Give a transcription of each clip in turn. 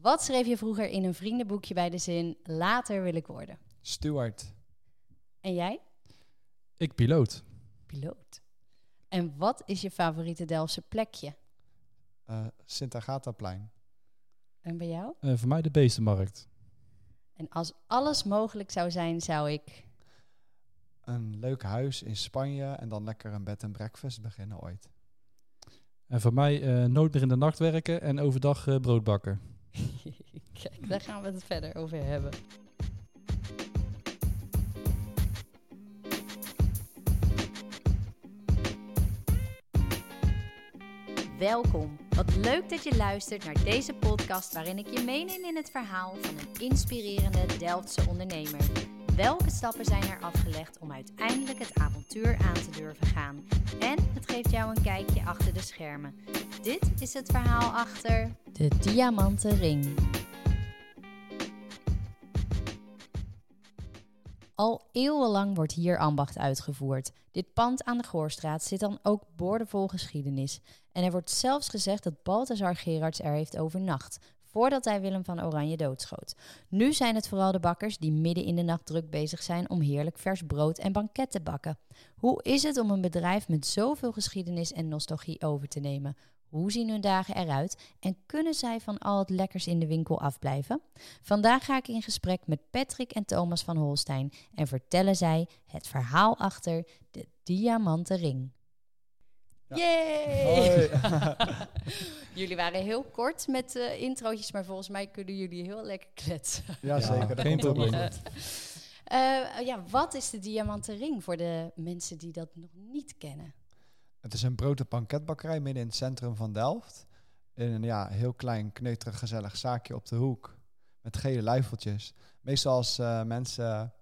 Wat schreef je vroeger in een vriendenboekje bij de zin later wil ik worden? Stuart. En jij? Ik piloot. Piloot. En wat is je favoriete Delftse plekje? Eh sint Agataplein. En bij jou? Eh, voor mij de beestenmarkt. En als alles mogelijk zou zijn, zou ik. Een leuk huis in Spanje en dan lekker een bed en breakfast beginnen ooit. En voor mij eh, nooit meer in de nacht werken en overdag eh, brood bakken. Kijk, daar gaan we het verder over hebben. Welkom. Wat leuk dat je luistert naar deze podcast waarin ik je meeneem in het verhaal van een inspirerende Delftse ondernemer. Welke stappen zijn er afgelegd om uiteindelijk het avontuur aan te durven gaan? En het geeft jou een kijkje achter de schermen. Dit is het verhaal achter. De diamanten ring. Al eeuwenlang wordt hier ambacht uitgevoerd. Dit pand aan de Goorstraat zit dan ook boordevol geschiedenis. En er wordt zelfs gezegd dat Balthazar Gerards er heeft overnacht, voordat hij Willem van Oranje doodschoot. Nu zijn het vooral de bakkers die midden in de nacht druk bezig zijn om heerlijk vers brood en banket te bakken. Hoe is het om een bedrijf met zoveel geschiedenis en nostalgie over te nemen? Hoe zien hun dagen eruit en kunnen zij van al het lekkers in de winkel afblijven? Vandaag ga ik in gesprek met Patrick en Thomas van Holstein en vertellen zij het verhaal achter de diamanten ring. Ja. Yay! Hoi. jullie waren heel kort met eh, introotjes, maar volgens mij kunnen jullie heel lekker kletsen. Ja, zeker. dat geen komt helemaal probleem. goed. Eh, ja, wat is de diamanten ring voor de mensen die dat nog niet kennen? Het is een brood- en panketbakkerij midden in het centrum van Delft. In een ja, heel klein, kneuterig, gezellig zaakje op de hoek. Met gele luifeltjes. Meestal als eh, mensen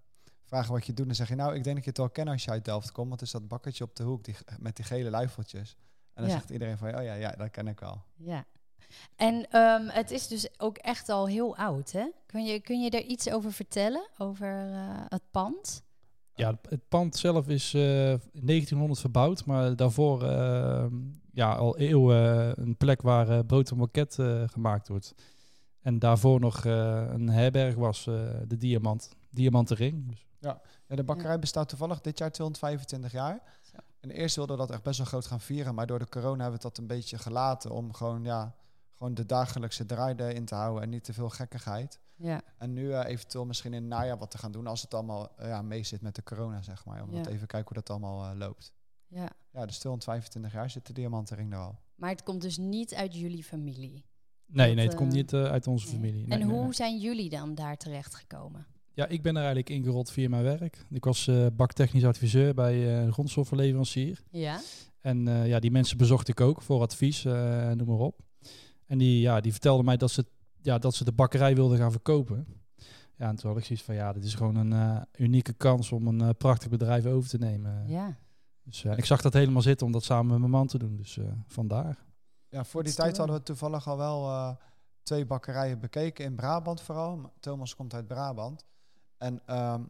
vragen wat je doet, dan zeg je... Nou, ik denk dat je het wel kent als je uit Delft komt. Want het is dat bakkertje op de hoek die, met die gele luifeltjes. En dan Ja. zegt iedereen van... Oh ja, ja, dat ken ik al. Ja. En ehm, het is dus ook echt al heel oud, hè? Kun je, kun je daar iets over vertellen, over eh, het pand? Ja, het pand zelf is eh, 1900 verbouwd, maar daarvoor eh, ja, al eeuwen een plek waar eh, brood en banket eh, gemaakt wordt. En daarvoor nog eh, een herberg was eh, de Diamant, Diamantenring. Dus Ja, de bakkerij bestaat toevallig dit jaar 225 jaar. Zo. En eerst wilden we dat echt best wel groot gaan vieren. Maar door de corona hebben we dat een beetje gelaten om gewoon, ja, gewoon de dagelijkse draai erin te houden en niet te veel gekkigheid. Ja. En nu eh, eventueel misschien in het najaar wat te gaan doen als het allemaal eh, ja, mee zit met de corona, zeg maar. Om Ja. dat even kijken hoe dat allemaal eh, loopt. ja. Ja, dus 225 jaar zit de diamantenring er al. Maar het komt dus niet uit jullie familie. nee, Dat, nee, het komt eh, niet eh, uit onze familie. Nee, en nee, hoe nee. zijn jullie dan daar terechtgekomen? Ja, ik ben er eigenlijk ingerold via mijn werk. Ik was eh, baktechnisch adviseur bij eh, een grondstoffenleverancier. Ja. En eh, ja, die mensen bezocht ik ook voor advies, eh, noem maar op. En die, ja, die vertelden mij dat ze, ja, dat ze de bakkerij wilden gaan verkopen. Ja, en toen had ik zoiets van, ja, dit is gewoon een eh, unieke kans om een eh, prachtig bedrijf over te nemen. Ja. Dus eh, ik zag dat helemaal zitten om dat samen met mijn man te doen, dus eh, vandaar. Ja, voor die is toch tijd wel- hadden we toevallig al wel eh, twee bakkerijen bekeken in Brabant vooral. M- Thomas komt uit Brabant. En, ehm,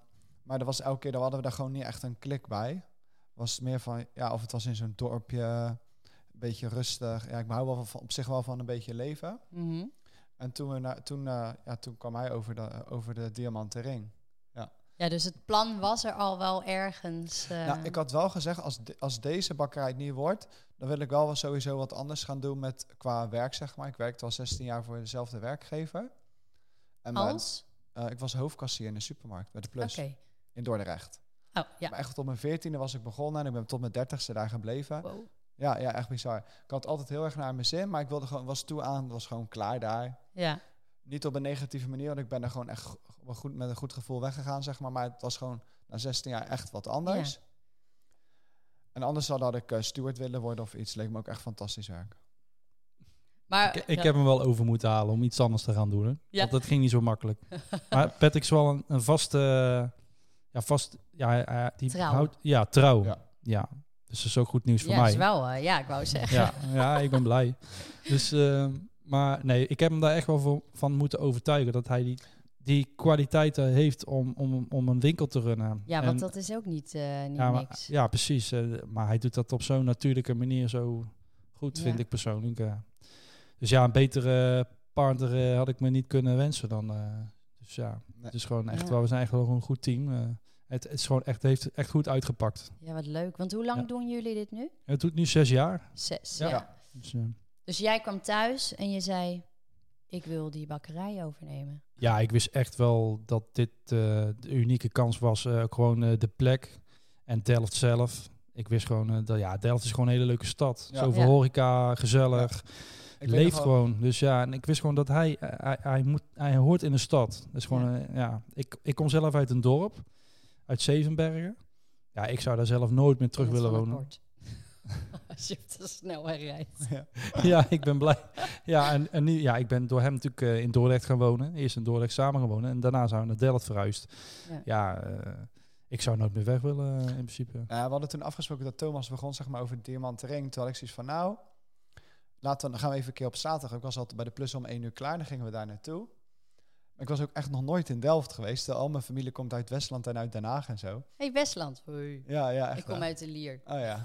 maar dat was elke keer, daar hadden we daar gewoon niet echt een klik bij. Was het meer van, ja, of het was in zo'n dorpje, een beetje rustig. Ja, ik hou wel van, op zich wel van een beetje leven. Mhm. En toen, we na, toen, eh, ja, toen kwam hij over de, over de diamanten ring. Ja, dus het plan was er al wel ergens. eh, Nou, ik had wel gezegd, als, de- als deze bakkerij het niet wordt, dan wil ik wel wat- sowieso wat anders gaan doen met qua werk, zeg maar. Ik werkte al 16 jaar voor dezelfde werkgever. En mijn- als? eh, ik was hoofdkassier in de supermarkt bij de Oké. Plus in Dordrecht. Oh, ja. Maar echt tot mijn 14e was ik begonnen en ik ben tot mijn 30ste daar gebleven. Wow. Ja, ja, echt bizar. Ik had altijd heel erg naar mijn zin, maar ik wilde gewoon, was toe aan, was gewoon klaar daar. Ja. Niet op een negatieve manier, want ik ben er gewoon echt go- wel goed, met een goed gevoel weggegaan, zeg maar. Maar het was gewoon na 16 jaar echt wat anders. En anders had, had ik eh, steward willen worden of iets. Leek me ook echt fantastisch werk. Maar, Ik, ik heb hem wel over moeten halen om iets anders te gaan doen, hè. Eh, Ja. want dat ging niet zo makkelijk. maar Patrick is wel een, een vaste, eh, ja, vast, ja, hij- hij- die Trouw. houdt, ja, trouw. Ja. Ja. dus dat is ook goed nieuws voor ja, mij. is wel, eh, ja, ik wou zeggen. Ja, ja ik ben blij. Dus, ehm, maar nee, ik heb hem daar echt wel voor- van moeten overtuigen dat hij die, die kwaliteiten heeft om, om, om een winkel te runnen. Ja, En- want dat is ook niet, eh, niet ja, maar, niks. ja, precies. eh, maar hij doet dat op zo'n natuurlijke manier zo goed, Ja. vind ik persoonlijk. eh. Dus ja, een betere partner eh, had ik me niet kunnen wensen dan. eh. dus ja, Nee. het is gewoon echt Ja. wel, we zijn eigenlijk wel een goed team. eh. het, het is gewoon echt, heeft echt goed uitgepakt. Ja, wat leuk. Want hoe lang Ja. doen jullie dit nu? Het doet nu zes jaar. Zes. Ja. Ja. Dus, eh, Dus jij kwam thuis en je zei: Ik wil die bakkerij overnemen. ja, ik wist echt wel dat dit eh, de unieke kans was. eh, ook gewoon eh, de plek en Delft zelf. Ik wist gewoon eh, dat ja, Delft is gewoon een hele leuke stad. Ja. Zoveel Ja. horeca, gezellig. Ik weet nog leeft wel- gewoon. Dus ja, en ik wist gewoon dat hij, eh, hij, hij, moet, hij hoort in de stad. Dat is gewoon, eh, ja. Ik, ik kom zelf uit een dorp, uit Zevenbergen. Ja, ik zou daar zelf nooit meer terug Net willen van het wonen. bord. Als je op de snelweg rijdt. ja, ik ben blij. Ja, en, en nu, ja, ik ben door hem natuurlijk eh, in Dordrecht gaan wonen. Eerst in Dordrecht samen gaan wonen en daarna zijn we naar Delft verhuisd. Ja. Ja, eh, ik zou nooit meer weg willen eh, in principe. Ja, we hadden toen afgesproken dat Thomas begon zeg maar, over de diamantring. Toen had ik zoiets van, nou, laten we, dan gaan we even een keer op zaterdag. Ik was altijd bij de plus om 1 uur klaar, dan gingen we daar naartoe. Maar ik was ook echt nog nooit in Delft geweest. terwijl Al mijn familie komt uit Westland en uit Den Haag en zo. hey, Westland. Hoi. Ja, ja, echt Ik kom waar. uit de Lier. Oh ja.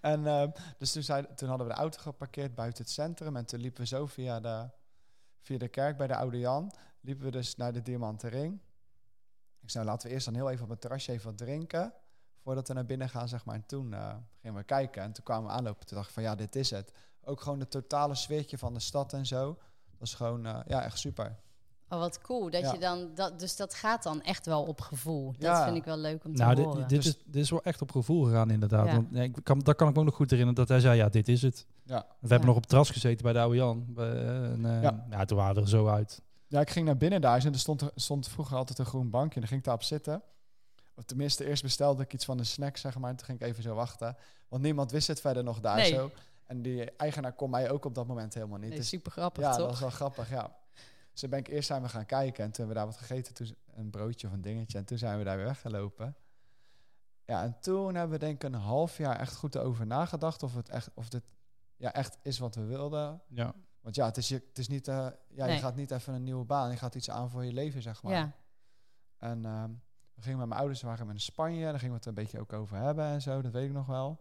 en ehm, dus toen, zei, toen hadden we de auto geparkeerd buiten het centrum. En toen liepen we zo via de, via de kerk bij de Oude Jan. Liepen we dus naar de Diamanten Ring. Ik zei, laten we eerst dan heel even op het terrasje even wat drinken. Voordat we naar binnen gaan, zeg maar. En toen eh, gingen we kijken. En toen kwamen we aanlopen. Toen dacht ik van, ja, dit is het. Ook gewoon het totale sfeertje van de stad en zo. Dat is gewoon, eh, ja, echt super. Oh, wat cool. Dat Ja. je dan, dat, dus dat gaat dan echt wel op gevoel. Dat Ja. vind ik wel leuk om te Nou, horen. dit, dit, is, dit is wel echt op gevoel gegaan inderdaad. Ja. Want, ja, ik kan, dat kan ik me ook nog goed herinneren dat hij zei, ja, dit is het. Ja. We hebben Ja. nog op het terras gezeten bij de oude Jan. Eh, en, eh, Ja. ja. toen waren we er zo uit. Ja, ik ging naar binnen daar en er stond, stond vroeger altijd een groen bankje. En dan ging ik daarop zitten. Of tenminste, eerst bestelde ik iets van een snack, zeg maar. En toen ging ik even zo wachten. Want niemand wist het verder nog daar Nee. zo. En die eigenaar kon mij ook op dat moment helemaal niet. Nee, dus super grappig, ja, dat toch? was wel grappig, ja. Dus toen ben ik eerst zijn we gaan kijken. En toen hebben we daar wat gegeten. Toen een broodje of een dingetje. En toen zijn we daar weer weggelopen. Ja, en toen hebben we denk ik een half jaar echt goed over nagedacht. Of het echt, of dit, ja, echt is wat we wilden. Ja. Want ja, het is, je, het is niet, eh, ja, Nee. je gaat niet even een nieuwe baan. Je gaat iets aan voor je leven, zeg maar. Ja. En ehm, we gingen met mijn ouders, we waren met in Spanje. Daar gingen we het een beetje ook over hebben en zo. Dat weet ik nog wel.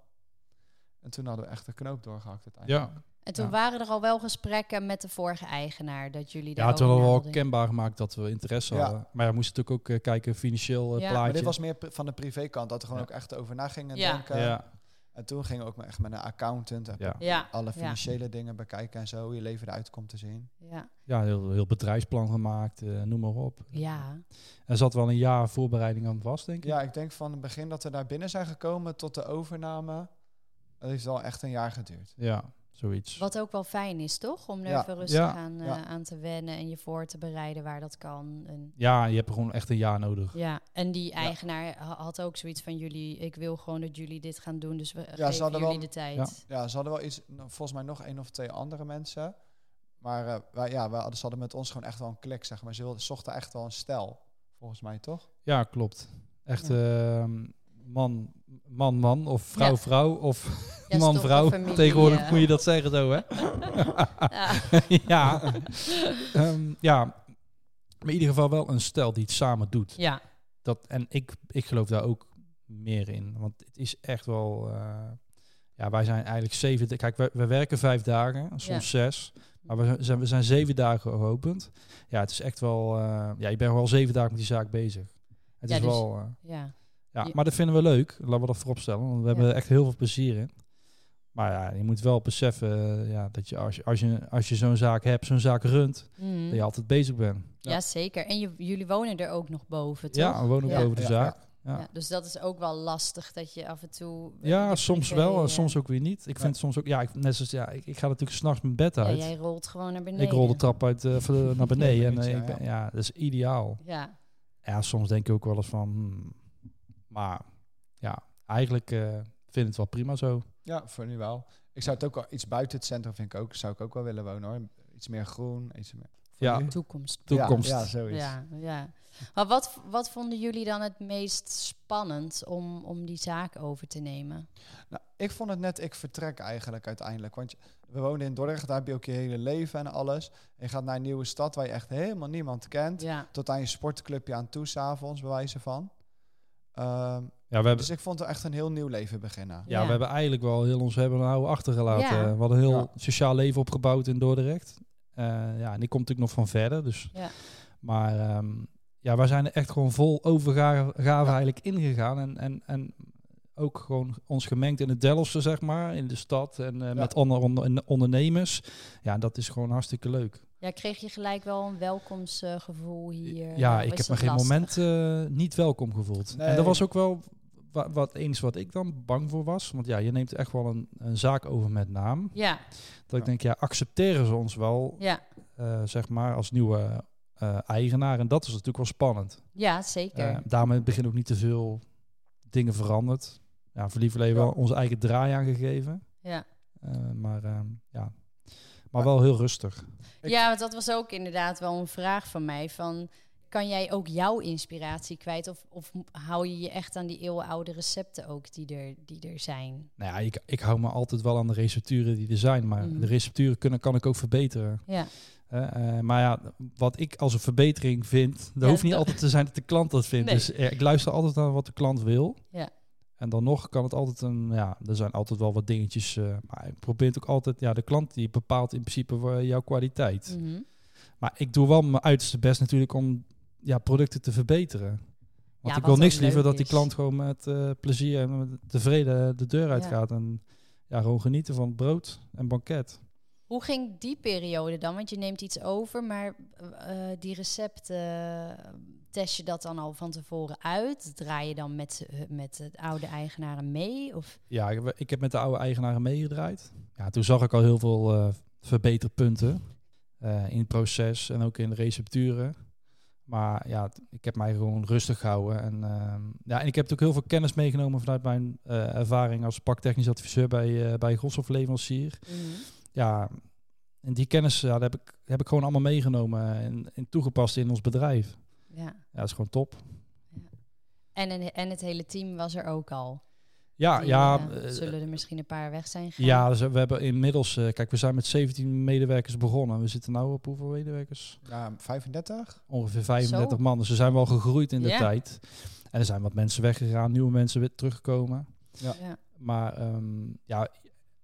En toen hadden we echt de knoop doorgehakt uiteindelijk. Ja, En toen Ja. waren er al wel gesprekken met de vorige eigenaar dat jullie ja daar het hadden we over wel nadenken. kenbaar gemaakt dat we interesse Ja. hadden. Maar ja, we moesten natuurlijk ook eh, kijken, financieel eh, Ja. plaatje. Maar dit was eh, meer pri- van de privékant, dat we gewoon Ja. ook echt over na gingen Ja. denken. ja, En toen gingen we ook met- echt met een accountant en ja. Ja. alle ja, financiële dingen bekijken en zo. Je leven eruit komt te zien. Ja. ja, heel, heel bedrijfsplan gemaakt, eh, noem maar op. Ja. Er zat wel een jaar voorbereiding aan vast, Mhm. denk ik. Ja, ik denk van het begin dat we daar binnen zijn gekomen tot de overname. Dat heeft wel echt een jaar geduurd. Ja, zoiets. Wat ook wel fijn is, toch? Om er Ja. even rustig Ja. Aan, eh, Ja. aan te wennen en je voor te bereiden waar dat kan. En, Ja, je hebt er gewoon echt een jaar nodig. ja. En die eigenaar ha- had ook zoiets van jullie, ik wil gewoon dat jullie dit gaan doen, dus we geven hadden jullie wel- de tijd. Ja. Ja, ze hadden wel iets, no- volgens mij nog één of twee andere mensen. Maar eh, wij, ja, we hadden, ze hadden met ons gewoon echt wel een klik, zeg maar. Ze wilden, zochten echt wel een stijl, volgens mij, toch? Ja, klopt. Echt Ja. ehm, man, man, man. Of vrouw, Ja. vrouw. Of Ja, man, stomme vrouw. familie, Tegenwoordig eh. moet je dat zeggen zo, hè? Ja. ja. Ehm, ja. Maar in ieder geval wel een stel die het samen doet. ja. dat, en ik, ik geloof daar ook meer in. Want het is echt wel. eh, ja, wij zijn eigenlijk zeven. da- Kijk, we, we werken vijf dagen, soms Ja. zes. Maar we zijn, we zijn zeven dagen geopend. Ja, het is echt wel. eh, ja, ik ben wel zeven dagen met die zaak bezig. Het Ja, is dus- wel. eh, Ja. ja, je- maar dat vinden we leuk. Laten we dat vooropstellen. Want we Ja. hebben er echt heel veel plezier in. Maar ja, je moet wel beseffen eh, ja, dat je als je, als je, als je zo'n zaak hebt, zo'n zaak runt, Mhm. dat je altijd bezig bent. Ja, zeker. En je, jullie wonen er ook nog boven, toch? Ja, we wonen Ja. boven de Ja, zaak. Ja. Ja. dus dat is ook wel lastig dat je af en toe... Ja, je soms privé, wel en eh, soms ook weer niet. Ik Ja. vind soms ook, ja, ik, net zoals, ja, ik, ik ga natuurlijk s'nachts mijn bed ja, uit. jij rolt gewoon naar beneden. ik rol de trap uit eh, van- naar beneden en Ja, eh, ik ja. ben, ja, dat is ideaal. Ja, Ja, soms denk ik ook wel eens van, hmm, maar ja, eigenlijk eh, vind ik het wel prima zo. Ja, voor nu wel. Ik zou het ook wel iets buiten het centrum, vind ik ook, zou ik ook wel willen wonen, hoor. Iets meer groen, iets meer... Ja, nu? toekomst. toekomst. Ja, ja, zoiets. Ja, ja. Maar wat, wat vonden jullie dan het meest spannend om, om die zaak over te nemen? Nou, ik vond het net, ik vertrek eigenlijk uiteindelijk. Want je- we wonen in Dordrecht, daar heb je ook je hele leven en alles. En je gaat naar een nieuwe stad waar je echt helemaal niemand kent. Ja, Tot aan je sportclubje aan toe, s'avonds, bij wijze van. Ehm, Ja, we hebben, Dus ik vond het echt een heel nieuw leven beginnen. ja, Ja. we hebben eigenlijk wel heel ons hebben oude achtergelaten. Ja. We hadden een heel Ja. sociaal leven opgebouwd in Dordrecht. Eh, ja, en ik kom natuurlijk nog van verder. Dus. Ja. Maar ehm, ja, wij zijn er echt gewoon vol overgave eigenlijk ingegaan. En, en, en ook gewoon ons gemengd in het Delftse, zeg maar, in de stad. En eh, met andere onder- ondernemers. Ja, dat is gewoon hartstikke leuk. Ja, kreeg je gelijk wel een welkomstgevoel hier? ja, eh, Of ik is heb dat me geen lastig? moment eh, niet welkom gevoeld. En Nee. dat was ook wel wa- wat eens wat ik dan bang voor was. Want ja, je neemt echt wel een, een zaak over met naam. Ja, Dat ik Ja. denk, ja, accepteren ze ons wel, ja, eh, zeg maar, als nieuwe eh, eigenaar. En dat is natuurlijk wel spannend. ja, zeker. Eh, daarmee in het begin ook niet te veel dingen veranderd. Ja, voor liever leven Ja. wel onze eigen draai aangegeven. ja. Eh, maar ehm, ja, maar wel heel rustig. Ik- ja, want dat was ook inderdaad wel een vraag van mij. Van, kan jij ook jouw inspiratie kwijt? Of, of hou je je echt aan die eeuwenoude recepten ook die er, die er zijn? Nou ja, ik, ik hou me altijd wel aan de recepturen die er zijn. Maar Mhm. de recepturen kunnen, kan ik ook verbeteren. Ja. Eh, eh, maar ja, wat ik als een verbetering vind, dat Ja, hoeft niet dat- altijd te zijn dat de klant dat vindt. Nee. Dus eh, ik luister altijd naar wat de klant wil. Ja. En dan nog kan het altijd een, ja, er zijn altijd wel wat dingetjes. eh, maar ik probeer het ook altijd, ja, de klant die bepaalt in principe eh, jouw kwaliteit. Mhm. Maar ik doe wel mijn uiterste best natuurlijk om ja, producten te verbeteren. Want Ja, ik wat wil niks ook liever leuk dat die is. klant gewoon met eh, plezier en met tevreden de deur uitgaat. En ja, gewoon genieten van het brood en banket. Hoe ging die periode dan? Want je neemt iets over, maar eh, eh, die recepten eh, test je dat dan al van tevoren uit? Draai je dan met, ze- eh, met de oude eigenaren mee? Of Ja, ik, heb- ik heb met de oude eigenaren meegedraaid. Ja, toen zag ik al heel veel eh, verbeterpunten eh, in het proces en ook in de recepturen. Maar ja, t- ik heb mij gewoon rustig gehouden. En, ehm, ja, en ik heb natuurlijk heel veel kennis meegenomen vanuit mijn eh, ervaring als paktechnisch adviseur bij, eh bij Groshoff Leverancier. Mhm. ja, en die kennis ja, dat heb, ik, heb ik gewoon allemaal meegenomen en, en toegepast in ons bedrijf. ja. Ja, dat is gewoon top. En, een- en het hele team was er ook al. Ja, Die, ja, eh, eh, zullen er misschien een paar weg zijn gegaan? ja dus we hebben inmiddels, eh, kijk, we zijn met 17 medewerkers begonnen. We zitten nu op hoeveel medewerkers? Ja, 35? Ongeveer 35 Zo. man. Dus we zijn wel gegroeid in de Ja. tijd. En er zijn wat mensen weggegaan, nieuwe mensen weer teruggekomen. Ja. Maar ehm, ja,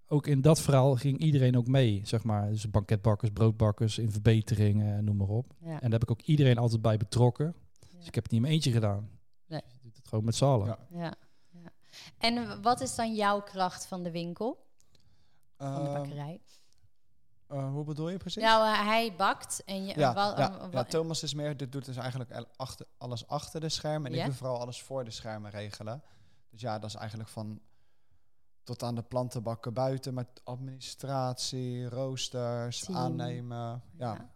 ook in dat verhaal ging iedereen ook mee, zeg maar. Dus banketbakkers, broodbakkers, in verbeteringen, noem maar op. Ja. En daar heb ik ook iedereen altijd bij betrokken. Dus ik heb het niet in mijn eentje gedaan. Nee. Dus je doet het gewoon met z'n allen. Ja. Ja. ja. En wat is dan jouw kracht van de winkel, van de Ehm, bakkerij? eh, hoe bedoel je precies? Nou, eh, hij bakt en je... ja, wa- ja, wa- ja, Thomas is meer, dit doet dus eigenlijk el- achter, alles achter de schermen. En Ja? ik doe vooral alles voor de schermen regelen. Dus ja, dat is eigenlijk van tot aan de plantenbakken buiten met administratie, roosters, Team. aannemen. Ja, ja.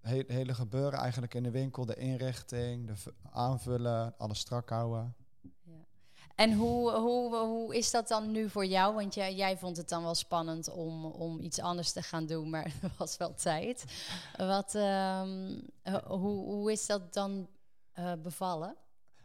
he- hele gebeuren eigenlijk in de winkel, de inrichting, de v- aanvullen, alles strak houden. En hoe, hoe, hoe is dat dan nu voor jou? Want jij, jij vond het dan wel spannend om, om iets anders te gaan doen, maar er was wel tijd. Wat, ehm, eh, hoe, hoe is dat dan eh, bevallen?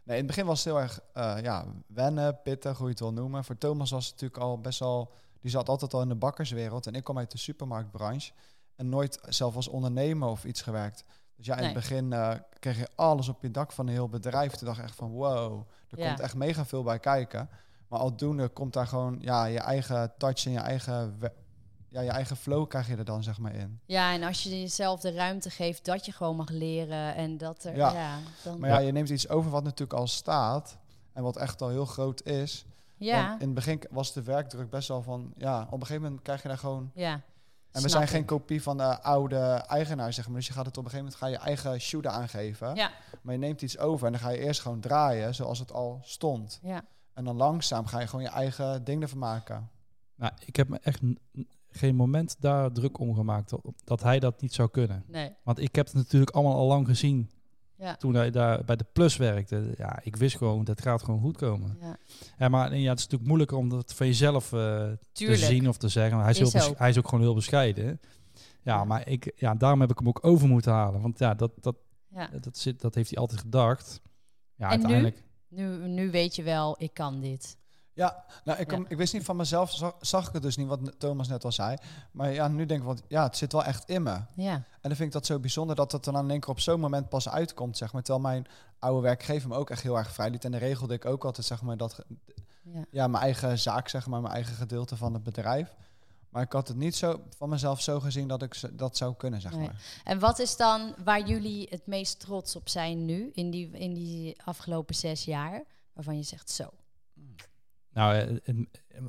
Nee, in het begin was het heel erg eh, ja, wennen, pittig, hoe je het wil noemen. Voor Thomas was het natuurlijk al best wel... Die zat altijd al in de bakkerswereld. En ik kwam uit de supermarktbranche. En nooit zelf als ondernemer of iets gewerkt. Dus ja, in Nee. het begin eh, kreeg je alles op je dak van een heel bedrijf. Toen dacht ik echt van wow, er Ja. komt echt mega veel bij kijken. Maar aldoende komt daar gewoon ja, je eigen touch en je eigen, we- ja, je eigen flow krijg je er dan zeg maar in. Ja, en als je jezelf de ruimte geeft dat je gewoon mag leren en dat er. Ja, Ja. dan, Maar ja, je neemt iets over wat natuurlijk al staat. En wat echt al heel groot is. ja, Want in het begin k- was de werkdruk best wel van, ja, op een gegeven moment krijg je daar gewoon. ja. En we Snap zijn ik. geen kopie van de oude eigenaar, zeg maar. Dus je gaat het op een gegeven moment ga je eigen shoeden aangeven. Ja. Maar je neemt iets over en dan ga je eerst gewoon draaien zoals het al stond. Ja. En dan langzaam ga je gewoon je eigen ding ervan maken. Nou, ik heb me echt n- n- geen moment daar druk om gemaakt dat- dat hij dat niet zou kunnen. Nee. Want ik heb het natuurlijk allemaal al lang gezien Ja. toen hij daar bij de Plus werkte. Ja, ik wist gewoon, dat gaat gewoon goed komen. Ja. Ja, maar en ja, het is natuurlijk moeilijker om dat van jezelf eh, te Tuurlijk. zien of te zeggen. Hij is, Is heel bes- ook. hij is ook gewoon heel bescheiden. Ja, Ja. maar ik, ja, daarom heb ik hem ook over moeten halen. Want ja, dat, dat, Ja. dat, zit, dat heeft hij altijd gedacht. Ja, En nu? uiteindelijk. Nu, nu weet je wel, ik kan dit. Ja, nou, ik, kan- ik wist niet van mezelf, zag, zag ik het dus niet, wat Thomas net al zei. Maar ja, nu denk ik, want, ja, het zit wel echt in me. Ja, En dan vind ik dat zo bijzonder dat het dan in één keer op zo'n moment pas uitkomt, zeg maar. Terwijl mijn oude werkgever me ook echt heel erg vrij liet. En dan regelde ik ook altijd, zeg maar, dat, ge- ja. ja, mijn eigen zaak, zeg maar, mijn eigen gedeelte van het bedrijf. Maar ik had het niet zo van mezelf zo gezien dat ik z- dat zou kunnen, zeg Nee. maar. En wat is dan waar jullie het meest trots op zijn nu, in die, in die afgelopen zes jaar? Waarvan je zegt zo. Nou, eh, het,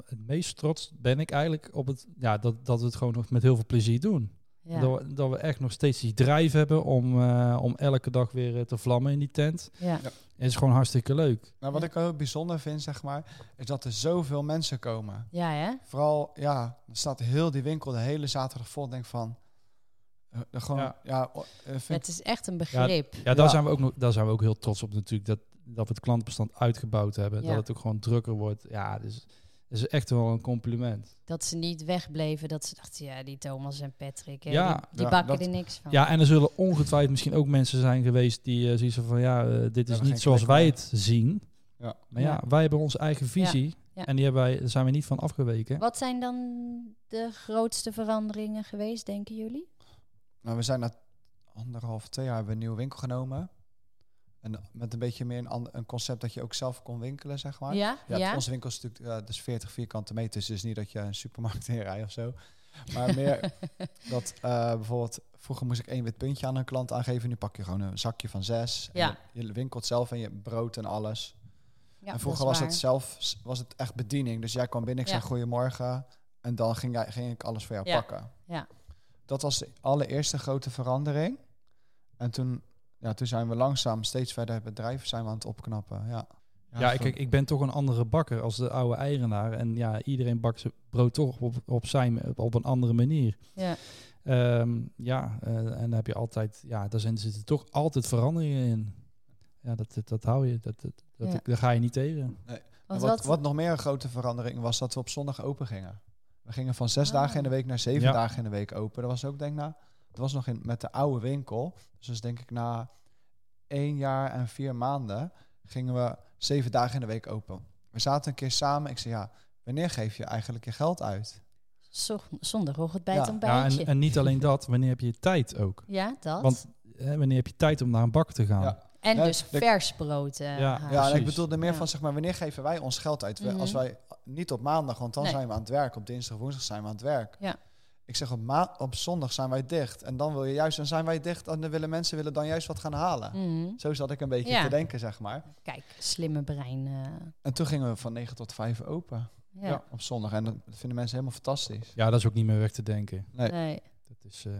het meest trots ben ik eigenlijk op het, ja, dat, dat we het gewoon nog met heel veel plezier doen. Ja, Dat, we, dat we echt nog steeds die drijf hebben om, eh, om elke dag weer eh, te vlammen in die tent. ja. Het is gewoon hartstikke leuk. Maar wat Ja. ik heel bijzonder vind, zeg maar, is dat er zoveel mensen komen. ja hè? Vooral, ja, er staat heel die winkel de hele zaterdag vol. Ik Denk van, eh, gewoon, ja, Ja. o- eh, vind Het is echt een begrip. Ja, daar, Ja. Zijn we ook nog, daar zijn we ook heel trots op natuurlijk. Dat, dat we het klantbestand uitgebouwd hebben. Ja. Dat het ook gewoon drukker wordt. Ja, dus dat is echt wel een compliment. Dat ze niet wegbleven, dat ze dachten, ja, die Thomas en Patrick, hè, Ja, die, die ja, bakken dat- er niks van. Ja, en er zullen ongetwijfeld misschien ook mensen zijn geweest die eh, zoiets hebben van ja, eh, dit Ja, is we niet gaan zoals klikken, wij ja. het zien. Ja. Maar ja, wij hebben onze eigen visie ja. en die hebben wij, daar zijn we niet van afgeweken. Wat zijn dan de grootste veranderingen geweest, denken jullie? Nou, we zijn na anderhalf, twee jaar hebben we een nieuwe winkel genomen. En met een beetje meer een, ander- een concept dat je ook zelf kon winkelen, zeg maar. ja, Ja, ja. Onze winkel is natuurlijk eh, dus 40 vierkante meters. Dus niet dat je een supermarkt inrijdt of zo. Maar meer dat eh, bijvoorbeeld... Vroeger moest ik één wit puntje aan een klant aangeven. Nu pak je gewoon een zakje van zes. En Ja. Je, je winkelt zelf en je brood en alles. Ja, en vroeger dat is was het waar. zelf was het echt bediening. Dus jij kwam binnen, ik Ja. zei goedemorgen. En dan ging, jij, ging ik alles voor jou Ja. pakken. Ja. Dat was de allereerste grote verandering. En toen, ja, toen zijn we langzaam steeds verder het bedrijf zijn we aan het opknappen. Ja, ja, zo- kijk, ik ben toch een andere bakker als de oude eigenaar. En ja, iedereen bakt zijn brood toch op, op, zijn, op een andere manier. Ja. Ehm, ja, eh, en dan heb je altijd, ja, daar zijn, zitten toch altijd veranderingen in. Ja, dat, dat, dat hou je, dat, dat, dat, Ja. daar ga je niet tegen. En Want wat, wat, wat, nog meer een grote verandering was dat we op zondag open gingen. We gingen van zes Ah. dagen in de week naar zeven Ja. dagen in de week open. Dat was ook denk ik na, dat was nog in, met de oude winkel. Dus dat is denk ik na één jaar en vier maanden gingen we zeven dagen in de week open. We zaten een keer samen. Ik zei ja, wanneer geef je eigenlijk je geld uit? zo- zondagochtend bij het Ja. Ja, ontbijtje. en, en niet alleen dat, wanneer heb je tijd ook? Ja, dat. Want hè, wanneer heb je tijd om naar een bak te gaan? Ja. en Ja, dus de- vers brood. eh, Ja, halen. Ja, en ik precies. bedoelde meer Ja. van zeg maar wanneer geven wij ons geld uit? We- Als Mhm. wij niet op maandag, want dan Nee. zijn we aan het werk. Op dinsdag, woensdag zijn we aan het werk. Ja. Ik zeg op, ma- op zondag zijn wij dicht. En dan wil je juist, dan zijn wij dicht. En dan willen mensen willen dan juist wat gaan halen. Mhm. Zo zat ik een beetje Ja. te denken, zeg maar. Kijk, slimme brein. eh, En toen gingen we van 9 tot 5 open. ja. Ja, op zondag. En dat vinden mensen helemaal fantastisch. Ja, dat is ook niet meer weg te denken. Nee. Nee. Dat is, eh,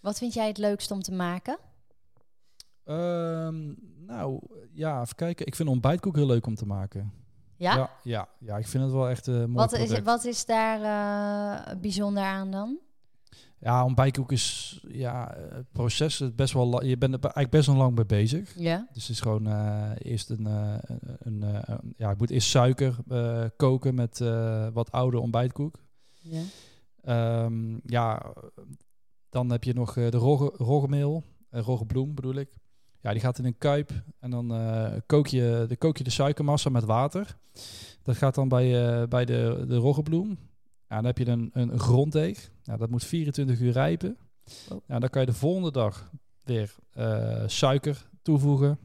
Wat vind jij het leukst om te maken? ehm, nou, ja, even kijken. Ik vind ontbijtkoek heel leuk om te maken. Ja? Ja, ja, ja, ik vind het wel echt eh mooi wat, product. is, wat is daar eh, bijzonder aan dan? Ja, ontbijtkoek is... Ja, eh, het proces is best wel... la- Je bent er be- eigenlijk best wel lang mee bezig. Ja. Dus het is gewoon eh, eerst een... eh, een eh, een- ja, ik moet eerst suiker eh, koken met eh, wat oude ontbijtkoek. ja. Ehm, ja, dan heb je nog eh, de rogge- roggemeel, eh roggebloem bedoel ik. Ja, die gaat in een kuip en dan eh, kook, je, dan kook je de suikermassa met water. Dat gaat dan bij, eh, bij de, de roggebloem. Ja, dan heb je een, een, een gronddeeg. Nou, dat moet 24 uur rijpen. Oh. Nou, dan kan je de volgende dag weer eh, suiker toevoegen,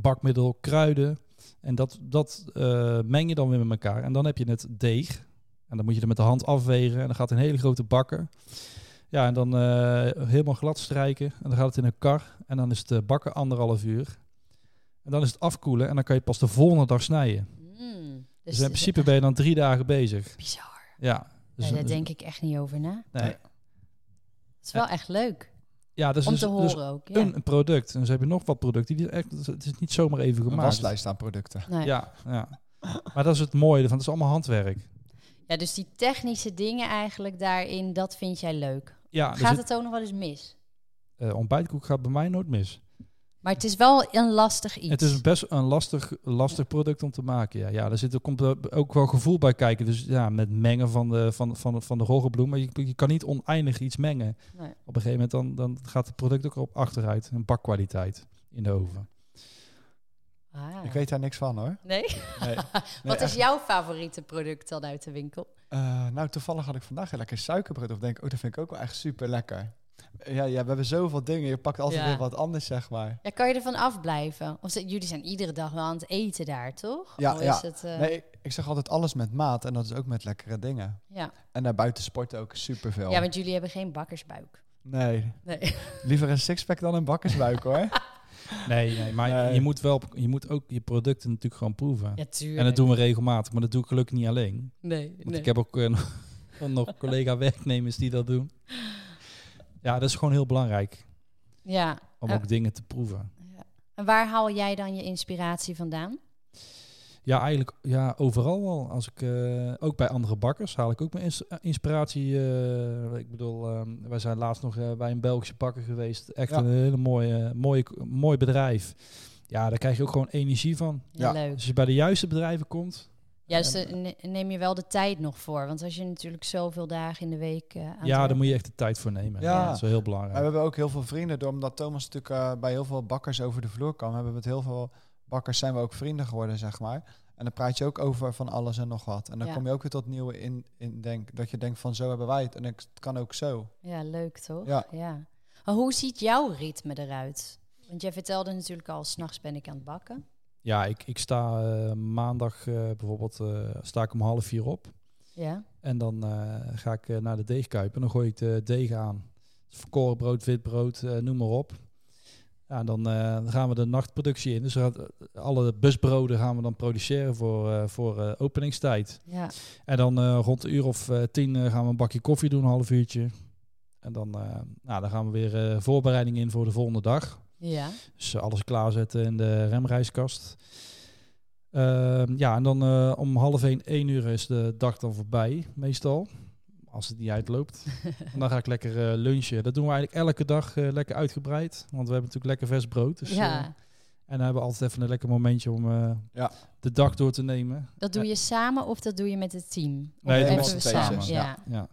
bakmiddel, kruiden. En dat, dat eh, meng je dan weer met elkaar. En dan heb je het deeg. En dan moet je er met de hand afwegen. En dan gaat een hele grote bakker. Ja, en dan eh, helemaal glad strijken. En dan gaat het in een kar. En dan is het eh, bakken anderhalf uur. En dan is het afkoelen. En dan kan je het pas de volgende dag snijden. Mm, Dus, het in is principe echt ben je dan drie dagen bezig. bizar. Ja. Dus, Nee, daar dus- denk ik echt niet over na. nee. Het is wel echt leuk Ja, dus om dus- te dus horen ook. Ja. een een product. En ze hebben nog wat producten. Die echt, het is niet zomaar even Een gemaakt. waslijst aan producten. Nee. Ja. Ja, ja. Maar dat is het mooie ervan. Het is allemaal handwerk. dus die technische dingen eigenlijk daarin, dat vind jij leuk. Ja, dus Gaat het, het ook nog wel eens mis? eh, ontbijtkoek gaat bij mij nooit mis. Maar het is wel een lastig iets. Het is best een lastig, lastig product om te maken. Ja, ja daar zit, er komt eh, ook wel gevoel bij kijken. Dus ja, met mengen van de, van, van, van de roggebloem. Maar je, je kan niet oneindig iets mengen. Nee. Op een gegeven moment dan, dan gaat het product ook op achteruit. Een bakkwaliteit in de oven. Ah, Ja. Ik weet daar niks van hoor. Nee? Nee. Nee, Wat echt. is jouw favoriete product dan uit de winkel? Eh, nou, toevallig had ik vandaag heel lekker suikerbrood. Of denk ik, oh, dat vind ik ook wel echt super lekker. Ja, ja, we hebben zoveel dingen. Je pakt altijd Ja. weer wat anders, zeg maar. Ja, kan je ervan afblijven? Of ze- jullie zijn iedere dag wel aan het eten daar, toch? Ja, Of is ja. het, eh, Nee, ik, ik zeg altijd alles met maat. En dat is ook met lekkere dingen. ja. En daarbuiten sporten ook superveel. ja, want jullie hebben geen bakkersbuik. Nee, Nee. liever een sixpack dan een bakkersbuik hoor. Nee, nee maar Nee. Je, moet wel, je moet ook je producten natuurlijk gewoon proeven. Ja, tuurlijk. en dat doen we regelmatig, maar dat doe ik gelukkig niet alleen. Nee, Want nee. ik heb ook eh, nog- nog collega-werknemers die dat doen. Ja, dat is gewoon heel belangrijk Ja. om Ja. ook dingen te proeven. Ja. En waar haal jij dan je inspiratie vandaan? Ja, eigenlijk ja, overal wel. Als ik, eh, ook bij andere bakkers haal ik ook mijn ins- inspiratie. eh, ik bedoel, ehm, wij zijn laatst nog eh, bij een Belgische bakker geweest. Echt Ja. een hele mooie, mooie, mooi bedrijf. Ja, daar krijg je ook gewoon energie van. Ja. Ja. Leuk. Als je bij de juiste bedrijven komt. Juist, En, eh, ne- neem je wel de tijd nog voor. Want als je natuurlijk zoveel dagen in de week eh, aan ja, het daar moet je echt de tijd voor nemen. Ja. Dat is wel heel Maar belangrijk. we hebben ook heel veel vrienden. Door, omdat Thomas natuurlijk eh, bij heel veel bakkers over de vloer kwam, hebben we met heel veel bakkers zijn we ook vrienden geworden, zeg maar. En dan praat je ook over van alles en nog wat. En dan Ja. kom je ook weer tot nieuwe in, in denk, dat je denkt van zo hebben wij het. En ik- het kan ook zo. Ja, leuk toch? Ja. Maar hoe ziet jouw ritme eruit? Want jij vertelde natuurlijk al, s'nachts ben ik aan het bakken. Ja, ik, ik sta eh, maandag eh, bijvoorbeeld eh, sta ik om half vier op. Ja, En dan eh, ga ik eh, naar de deegkuip en dan gooi ik de deeg aan. Dus Verkoren brood, wit brood, eh, noem maar op. Ja, en dan eh, dan gaan we de nachtproductie in. Dus we gaan- alle busbroden gaan we dan produceren voor, eh, voor eh, openingstijd. ja. En dan eh, rond de uur of eh, tien eh, gaan we een bakje koffie doen, een half uurtje. En dan, eh, nou, dan gaan we weer eh voorbereiding in voor de volgende dag. ja. Dus eh, alles klaarzetten in de remreiskast. Ehm, ja, en dan eh, om half één, één uur is de dag dan voorbij, meestal. Als het niet uitloopt. en dan ga ik lekker eh, lunchen. Dat doen we eigenlijk elke dag eh, lekker uitgebreid. Want we hebben natuurlijk lekker vers brood. Dus, eh, ja. en dan hebben we altijd even een lekker momentje om eh, Ja. de dag door te nemen. Dat doe je samen of dat doe je met het team? Nee, Of dat even was het samen. tweetjes, Ja. ja. Ja.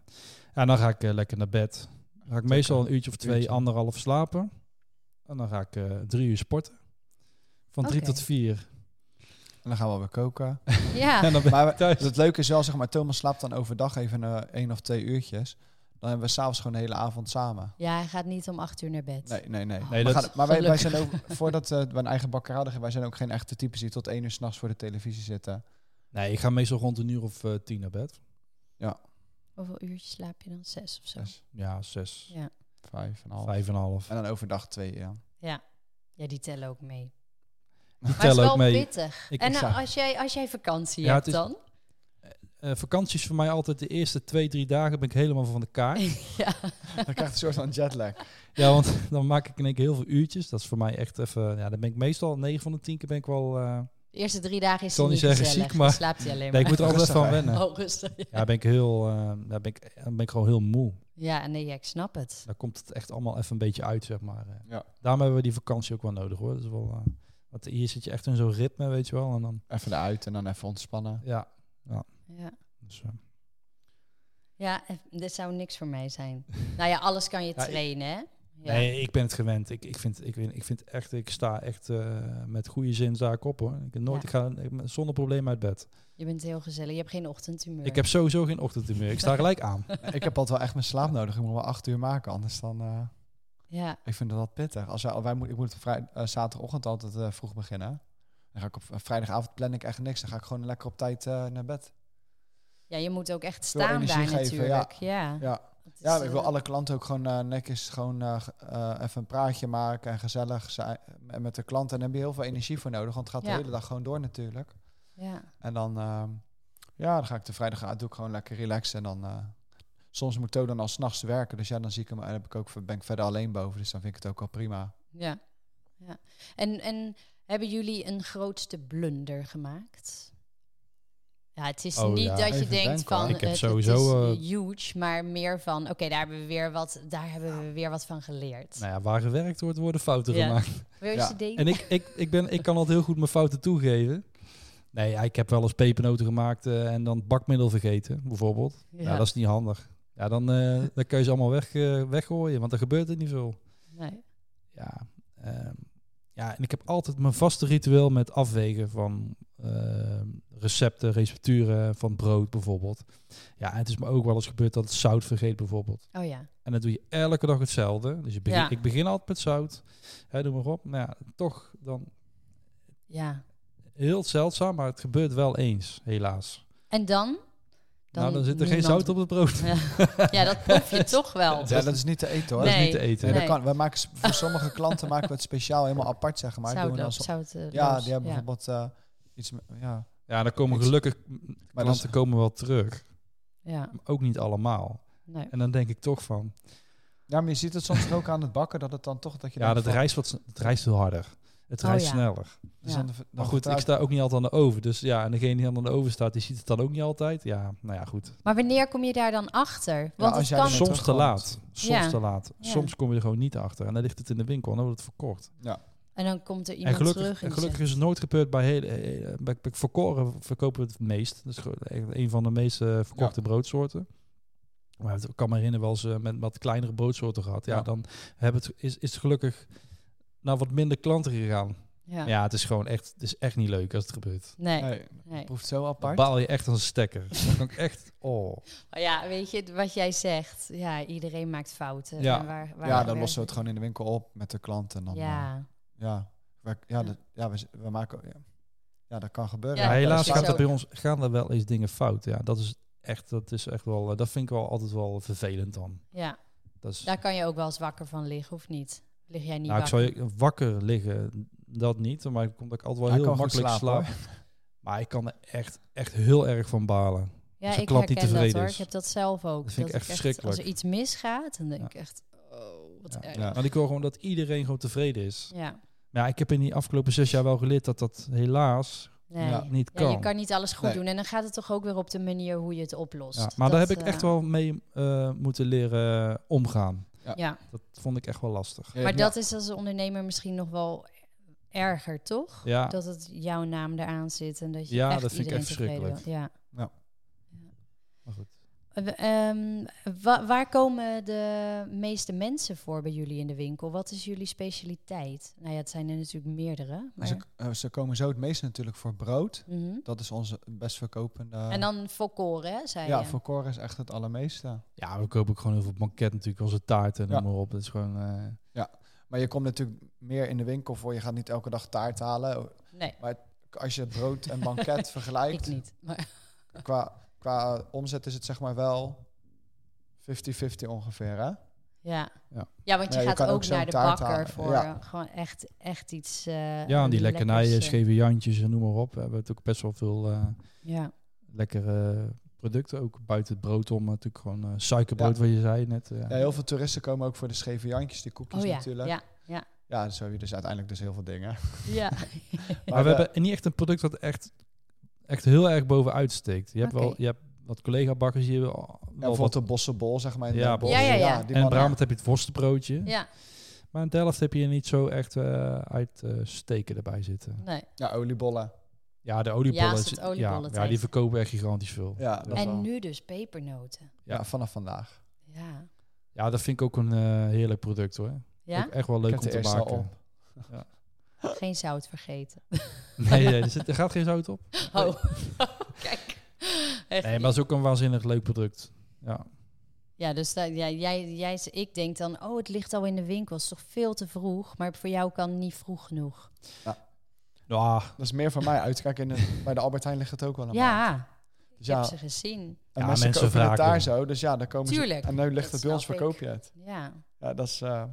En dan ga ik eh, lekker naar bed. Dan ga ik meestal een uurtje of twee, Uurtje. anderhalf slapen. En dan ga ik eh, drie uur sporten. Van drie Oké. tot vier. En dan gaan we weer koken. Ja. En dan ben Maar ik thuis. Dus het leuke is wel, zeg maar, Thomas slaapt dan overdag even eh, één of twee uurtjes. Dan hebben we s'avonds gewoon de hele avond samen. ja, hij gaat niet om acht uur naar bed. Nee, nee, nee. Nee, maar dat- gaan- maar wij, wij Gelukkig. zijn ook, voordat eh, we een eigen bakkerij hadden, wij zijn ook geen echte types die tot één uur s'nachts voor de televisie zitten. Nee, ik ga meestal rond een uur of eh, tien naar bed. Hoeveel uurtjes slaap je dan? Zes of zo? Zes, Ja, zes, Ja. Dus vijf en een half. vijf en een half. En dan overdag twee, ja. ja. Ja, die tellen ook mee. Die Maar het is tellen wel ook mee. pittig. Ik- en ik nou, zag- als, jij, als jij vakantie Ja, hebt het is- dan? Eh, vakantie is voor mij altijd de eerste twee, drie dagen ben ik helemaal van de kaart. ja. Dan krijg je een soort van jetlag. ja, want dan maak ik in één keer heel veel uurtjes. Dat is voor mij echt even... Ja, dan ben ik meestal negen van de tien keer ben ik wel... eh, De eerste drie dagen is Ik zal hij niet niet zeggen gezellig. ziek, maar- slaapt hij alleen nee, ik maar. moet er altijd even Rustig, van hè? wennen. Oh, rustig. Ja. Ja, ben ik heel... eh, daar ben ik, dan ben ik gewoon heel moe. ja, nee, ja, ik snap het. Daar komt het echt allemaal even een beetje uit, zeg maar. eh. Ja. Daarom hebben we die vakantie ook wel nodig, hoor. Dat is wel... eh, want hier zit je echt in zo'n ritme, weet je wel. En dan... Even eruit en dan even ontspannen. Ja. Ja. Dus, eh, Ja, eh, dit zou niks voor mij zijn. Nou ja, alles kan je Ja, ik- trainen, hè? Ja. Nee, ik ben het gewend. Ik, ik, vind, ik, ik vind echt, ik sta echt eh, met goede zin zaak op hoor. Ik, heb nooit, Ja. ik ga ik ben zonder probleem uit bed. Je bent heel gezellig. Je hebt geen ochtendhumeur. Ik heb sowieso geen ochtendhumeur. Ik sta gelijk aan. Ik heb altijd wel echt mijn slaap nodig. Ik moet wel acht uur maken, anders dan... eh, Ja, ik vind dat wel pittig. Als wij, wij moet, ik moet op vrij, eh, zaterdagochtend altijd eh, vroeg beginnen. Dan ga ik op eh, vrijdagavond plan ik echt niks. Dan ga ik gewoon lekker op tijd eh, naar bed. ja je moet ook echt wil staan energie daar geven, natuurlijk. Ja. Ja. Het is, Ja, maar ik wil eh, alle klanten ook gewoon eh, netjes gewoon, eh, ge- eh, even een praatje maken en gezellig zijn en met de klanten. En daar heb je heel veel energie voor nodig, want het gaat Ja. de hele dag gewoon door natuurlijk. Ja. En dan, ehm, ja, dan ga ik de vrijdag aan, doe ik gewoon lekker relaxen. En dan, eh, soms moet Toon dan al s'nachts werken, dus ja, dan zie ik hem, en heb ik ook, ben ik verder alleen boven, dus dan vind ik het ook al prima. Ja. ja. En, en hebben jullie een grootste blunder gemaakt? Ja, het is Oh, niet ja. dat je Even denkt denken, hoor. van Ik heb het, sowieso, het eh, is huge, maar meer van oké, daar hebben we weer wat, daar hebben we weer wat van geleerd. Nou ja, waar gewerkt wordt, worden fouten Ja. gemaakt. Wil je Ja. ze delen? En ik, ik, ik, ben, ik kan altijd heel goed mijn fouten toegeven. Nee, ja, ik heb wel eens pepernoten gemaakt eh, en dan bakmiddel vergeten, bijvoorbeeld. Ja. Ja. dat is niet handig. Ja, dan, eh, dan kun je ze allemaal weg, eh, weggooien, want er gebeurt er niet veel. Nee. Ja, ehm, Ja, en ik heb altijd mijn vaste ritueel met afwegen van eh, recepten, recepturen van brood bijvoorbeeld. Ja, en het is me ook wel eens gebeurd dat het zout vergeet bijvoorbeeld. Oh ja. En dan doe je elke dag hetzelfde. Dus je begin, Ja. ik begin altijd met zout. Hè, doe maar op. Nou ja, toch dan Ja. heel zeldzaam, maar het gebeurt wel eens, helaas. En dan? nou, dan zit er geen niemand- zout op het brood. Ja, dat proef je toch wel. Ja, dat is niet te eten hoor. Dat is Nee. niet te eten. Nee, Nee. dat kan. Wij maken, s- voor sommige klanten maken we het speciaal helemaal apart, zeg maar. Doen we dan Zoutloos. som- Zoutloos. ja, die hebben bijvoorbeeld eh, iets... met- Ja. Ja, dan komen Niks. gelukkig Maar dat is- klanten komen wel terug. Ja, Maar ook niet allemaal. nee. En dan denk ik toch van... ja, maar je ziet het soms ook aan het bakken, dat het dan toch... Dat je Ja, denkt dat van, rijst, wat, het rijst veel harder. Het nou, Oh, rijst ja. sneller. dus Ja. dan, dan Maar goed, ik vertrouwt- sta ook niet altijd aan de oven. Dus ja, en degene die aan de oven staat, die ziet het dan ook niet altijd. Ja, nou ja, goed. Maar wanneer kom je daar dan achter? Want als het jij kan... er- Soms te terugkomt. laat. Soms Ja. te laat. Ja. Soms kom je er gewoon niet achter. En dan ligt het in de winkel en dan wordt het verkocht. En dan komt er En iemand terug gelukkig, en die en gelukkig is het nooit gebeurd bij, hele, eh, bij, bij verkoren verkopen we het meest. Dat is gewoon echt een van de meest eh, verkochte broodsoorten. Maar het- ik kan me herinneren wel eens eh, met wat kleinere broodsoorten gehad. Ja, Ja. dan heb het, is, is het gelukkig naar wat minder klanten gegaan. zegt- Ja. Ja, het is gewoon echt, het is echt niet leuk als het gebeurt. Nee, nee. Nee, het proeft zo Dan apart. baal je echt als een stekker. Dan kan ik echt, oh. Maar Ja, weet je, wat jij zegt. Ja, iedereen maakt fouten. Ja. En waar, waar Ja, dan werkt lossen we het gewoon in de winkel op met de klant. En dan, eh, Ja. ja. Wij- ja, dat- ja, we, z- we maken... Ja. Ja, dat kan gebeuren. Ja, Ja, helaas is gaat zo. er bij ons gaan er wel eens dingen fout. Ja, dat is echt, dat is echt wel, eh, dat vind ik wel altijd wel vervelend dan. ja, Dat is, daar kan je ook wel eens wakker van liggen, of niet? Lig jij niet nou, ik wakker? zou je wakker liggen, dat niet, maar ik kom dat ik altijd Hij wel heel kan goed makkelijk slaap. slapen, Maar ik kan er echt, echt heel erg van balen. Ja, als een ik klant niet herken dat tevreden hoor. is. Ik heb dat zelf ook. Dat vind ik echt Als verschrikkelijk. er iets misgaat, dan denk Ja. ik echt, oh, wat Ja. erg. Ja. Ja. Want ik wil gewoon dat iedereen gewoon tevreden is. Maar ja, ik heb in die afgelopen zes jaar wel geleerd dat dat helaas nee. Ja. Ja, niet kan. je kan niet alles goed Nee. doen. En dan gaat het toch ook weer op de manier hoe je het oplost. Ja, maar daar Dat, heb ik echt eh, wel mee eh, moeten leren omgaan. Ja, Dat vond ik echt wel lastig. Ja, maar ja. dat is als ondernemer misschien nog wel erger, toch? Ja, Dat het jouw naam eraan zit en dat je Ja, echt dat vind ik iedereen echt tevreden wil. verschrikkelijk. Ja. Ja. Maar goed. Eh, ehm, wa- waar komen de meeste mensen voor bij jullie in de winkel? Wat is jullie specialiteit? Nou ja, het zijn er natuurlijk meerdere. Maar... Ze, eh, ze komen zo het meest natuurlijk voor brood. Mhm. Dat is onze best verkopende... En dan volkoren, hè, zei ja, je? voor Cor is echt het allermeeste. Ja, we kopen ook gewoon heel veel banket natuurlijk, onze taarten en Ja. noem maar op. Dat is gewoon... eh, Maar je komt natuurlijk meer in de winkel voor. Je gaat niet elke dag taart halen. Nee, Als je brood en banket ik vergelijkt, niet. Maar, qua, qua omzet is het zeg maar wel 50-50 ongeveer. Hè? ja. Ja. Ja. want je Ja, je gaat kan ook ook zo'n naar de taart bakker halen. voor Ja. eh, gewoon echt, echt iets. eh, ja, en die lekkernijen, lekkers, eh. scheve jantjes en noem maar op. We hebben het ook best wel veel eh, Ja. lekkere producten. Ook buiten het brood om natuurlijk gewoon eh, suikerbrood, wat je zei net. eh, Ja, heel veel toeristen komen ook voor de scheve jantjes, die koekjes Oh ja, natuurlijk. ja, Ja, zo heb je dus uiteindelijk dus heel veel dingen. ja. Maar we eh, hebben niet echt een product dat echt, echt heel erg bovenuit steekt. Je hebt Oké. wel je hebt wat collega-bakkers hier. wel- Wel bijvoorbeeld wat, de bossenbol, zeg maar. in Ja, Den Bosch. Ja, ja, ja. die en in mannen- Brabant heb je het worstenbroodje. ja. Maar in Delft heb je niet zo echt eh, uit uitsteken erbij zitten. Nee. Ja, oliebollen. Ja, de oliebollen. Ja, als is- het oliebollen ja, ja, tijd. die verkopen echt gigantisch veel. Ja, dat wel. En nu dus pepernoten. Ja, vanaf vandaag. Ja. Ja, dat vind ik ook een eh, heerlijk product hoor. Ja? Ook echt wel leuk heb om de te eerste maken. al op. Geen zout vergeten. Nee, nee, er, zit, er gaat geen zout op. Oh, kijk. Echt Nee, maar het is ook een waanzinnig leuk product. Ja, Ja, dus da- ja, jij, jij, ik denk dan, oh, het ligt al in de winkel, is toch veel te vroeg. Maar voor jou kan het niet vroeg genoeg. nou, Dat is meer van mij uitkijk. In de- bij de Albert Heijn ligt het ook wel een maand. ja, Dus ik heb ja, ze gezien. en Ja, mensen, mensen kopen het wraken. daar zo. Dus ja, dan komen Tuurlijk, ze... En nu ligt dat het bij ons, snap ik. verkoop je het. Ja, Oh, Ja, dat is... eh,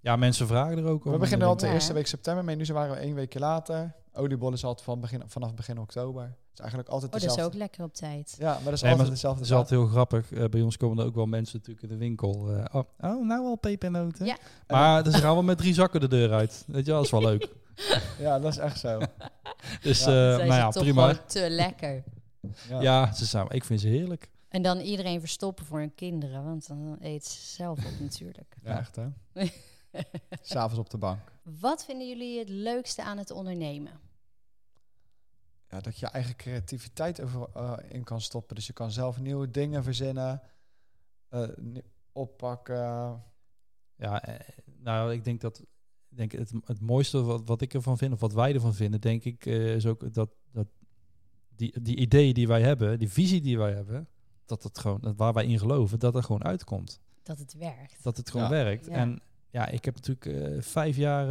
ja, mensen vragen er ook om. we beginnen al de Ja, eerste hè? week september mee. Nu zijn- waren we één weekje later. Oliebollen is altijd van begin, vanaf begin oktober. Het is eigenlijk altijd oh, dat is dezelfde. ook lekker op tijd. Ja, maar dat is Nee, altijd maar dezelfde. Het is altijd heel grappig. Eh, bij ons komen er ook wel mensen natuurlijk in de winkel. eh, oh, oh, nou al pepernoten. Ja. Maar dan gaan we met drie zakken de deur uit. Weet je wel, dat is wel leuk. zaak. Ja, dat is echt zo. Dus Ja. eh, Dan zijn nou ze ja, toch prima. gewoon te lekker. Ja. Ja, ze samen. Ik vind ze heerlijk. En dan iedereen verstoppen voor hun kinderen, want dan eet ze zelf op natuurlijk. Ja, echt hè. S'avonds op de bank. Wat vinden jullie het leukste aan het ondernemen? Ja, dat je je eigen creativiteit over, eh, in kan stoppen. Dus je kan zelf nieuwe dingen verzinnen. eh, ni- oppakken. Ja, eh, nou, ik denk dat ik denk het, het mooiste wat, wat ik ervan vind, of wat wij ervan vinden, denk ik, eh, is ook dat, dat die, die ideeën die wij hebben, die visie die wij hebben, dat het gewoon, dat waar wij in geloven, dat er gewoon uitkomt. dat het werkt. Dat het gewoon Ja. werkt. Ja. En ja, ik heb natuurlijk eh, vijf jaar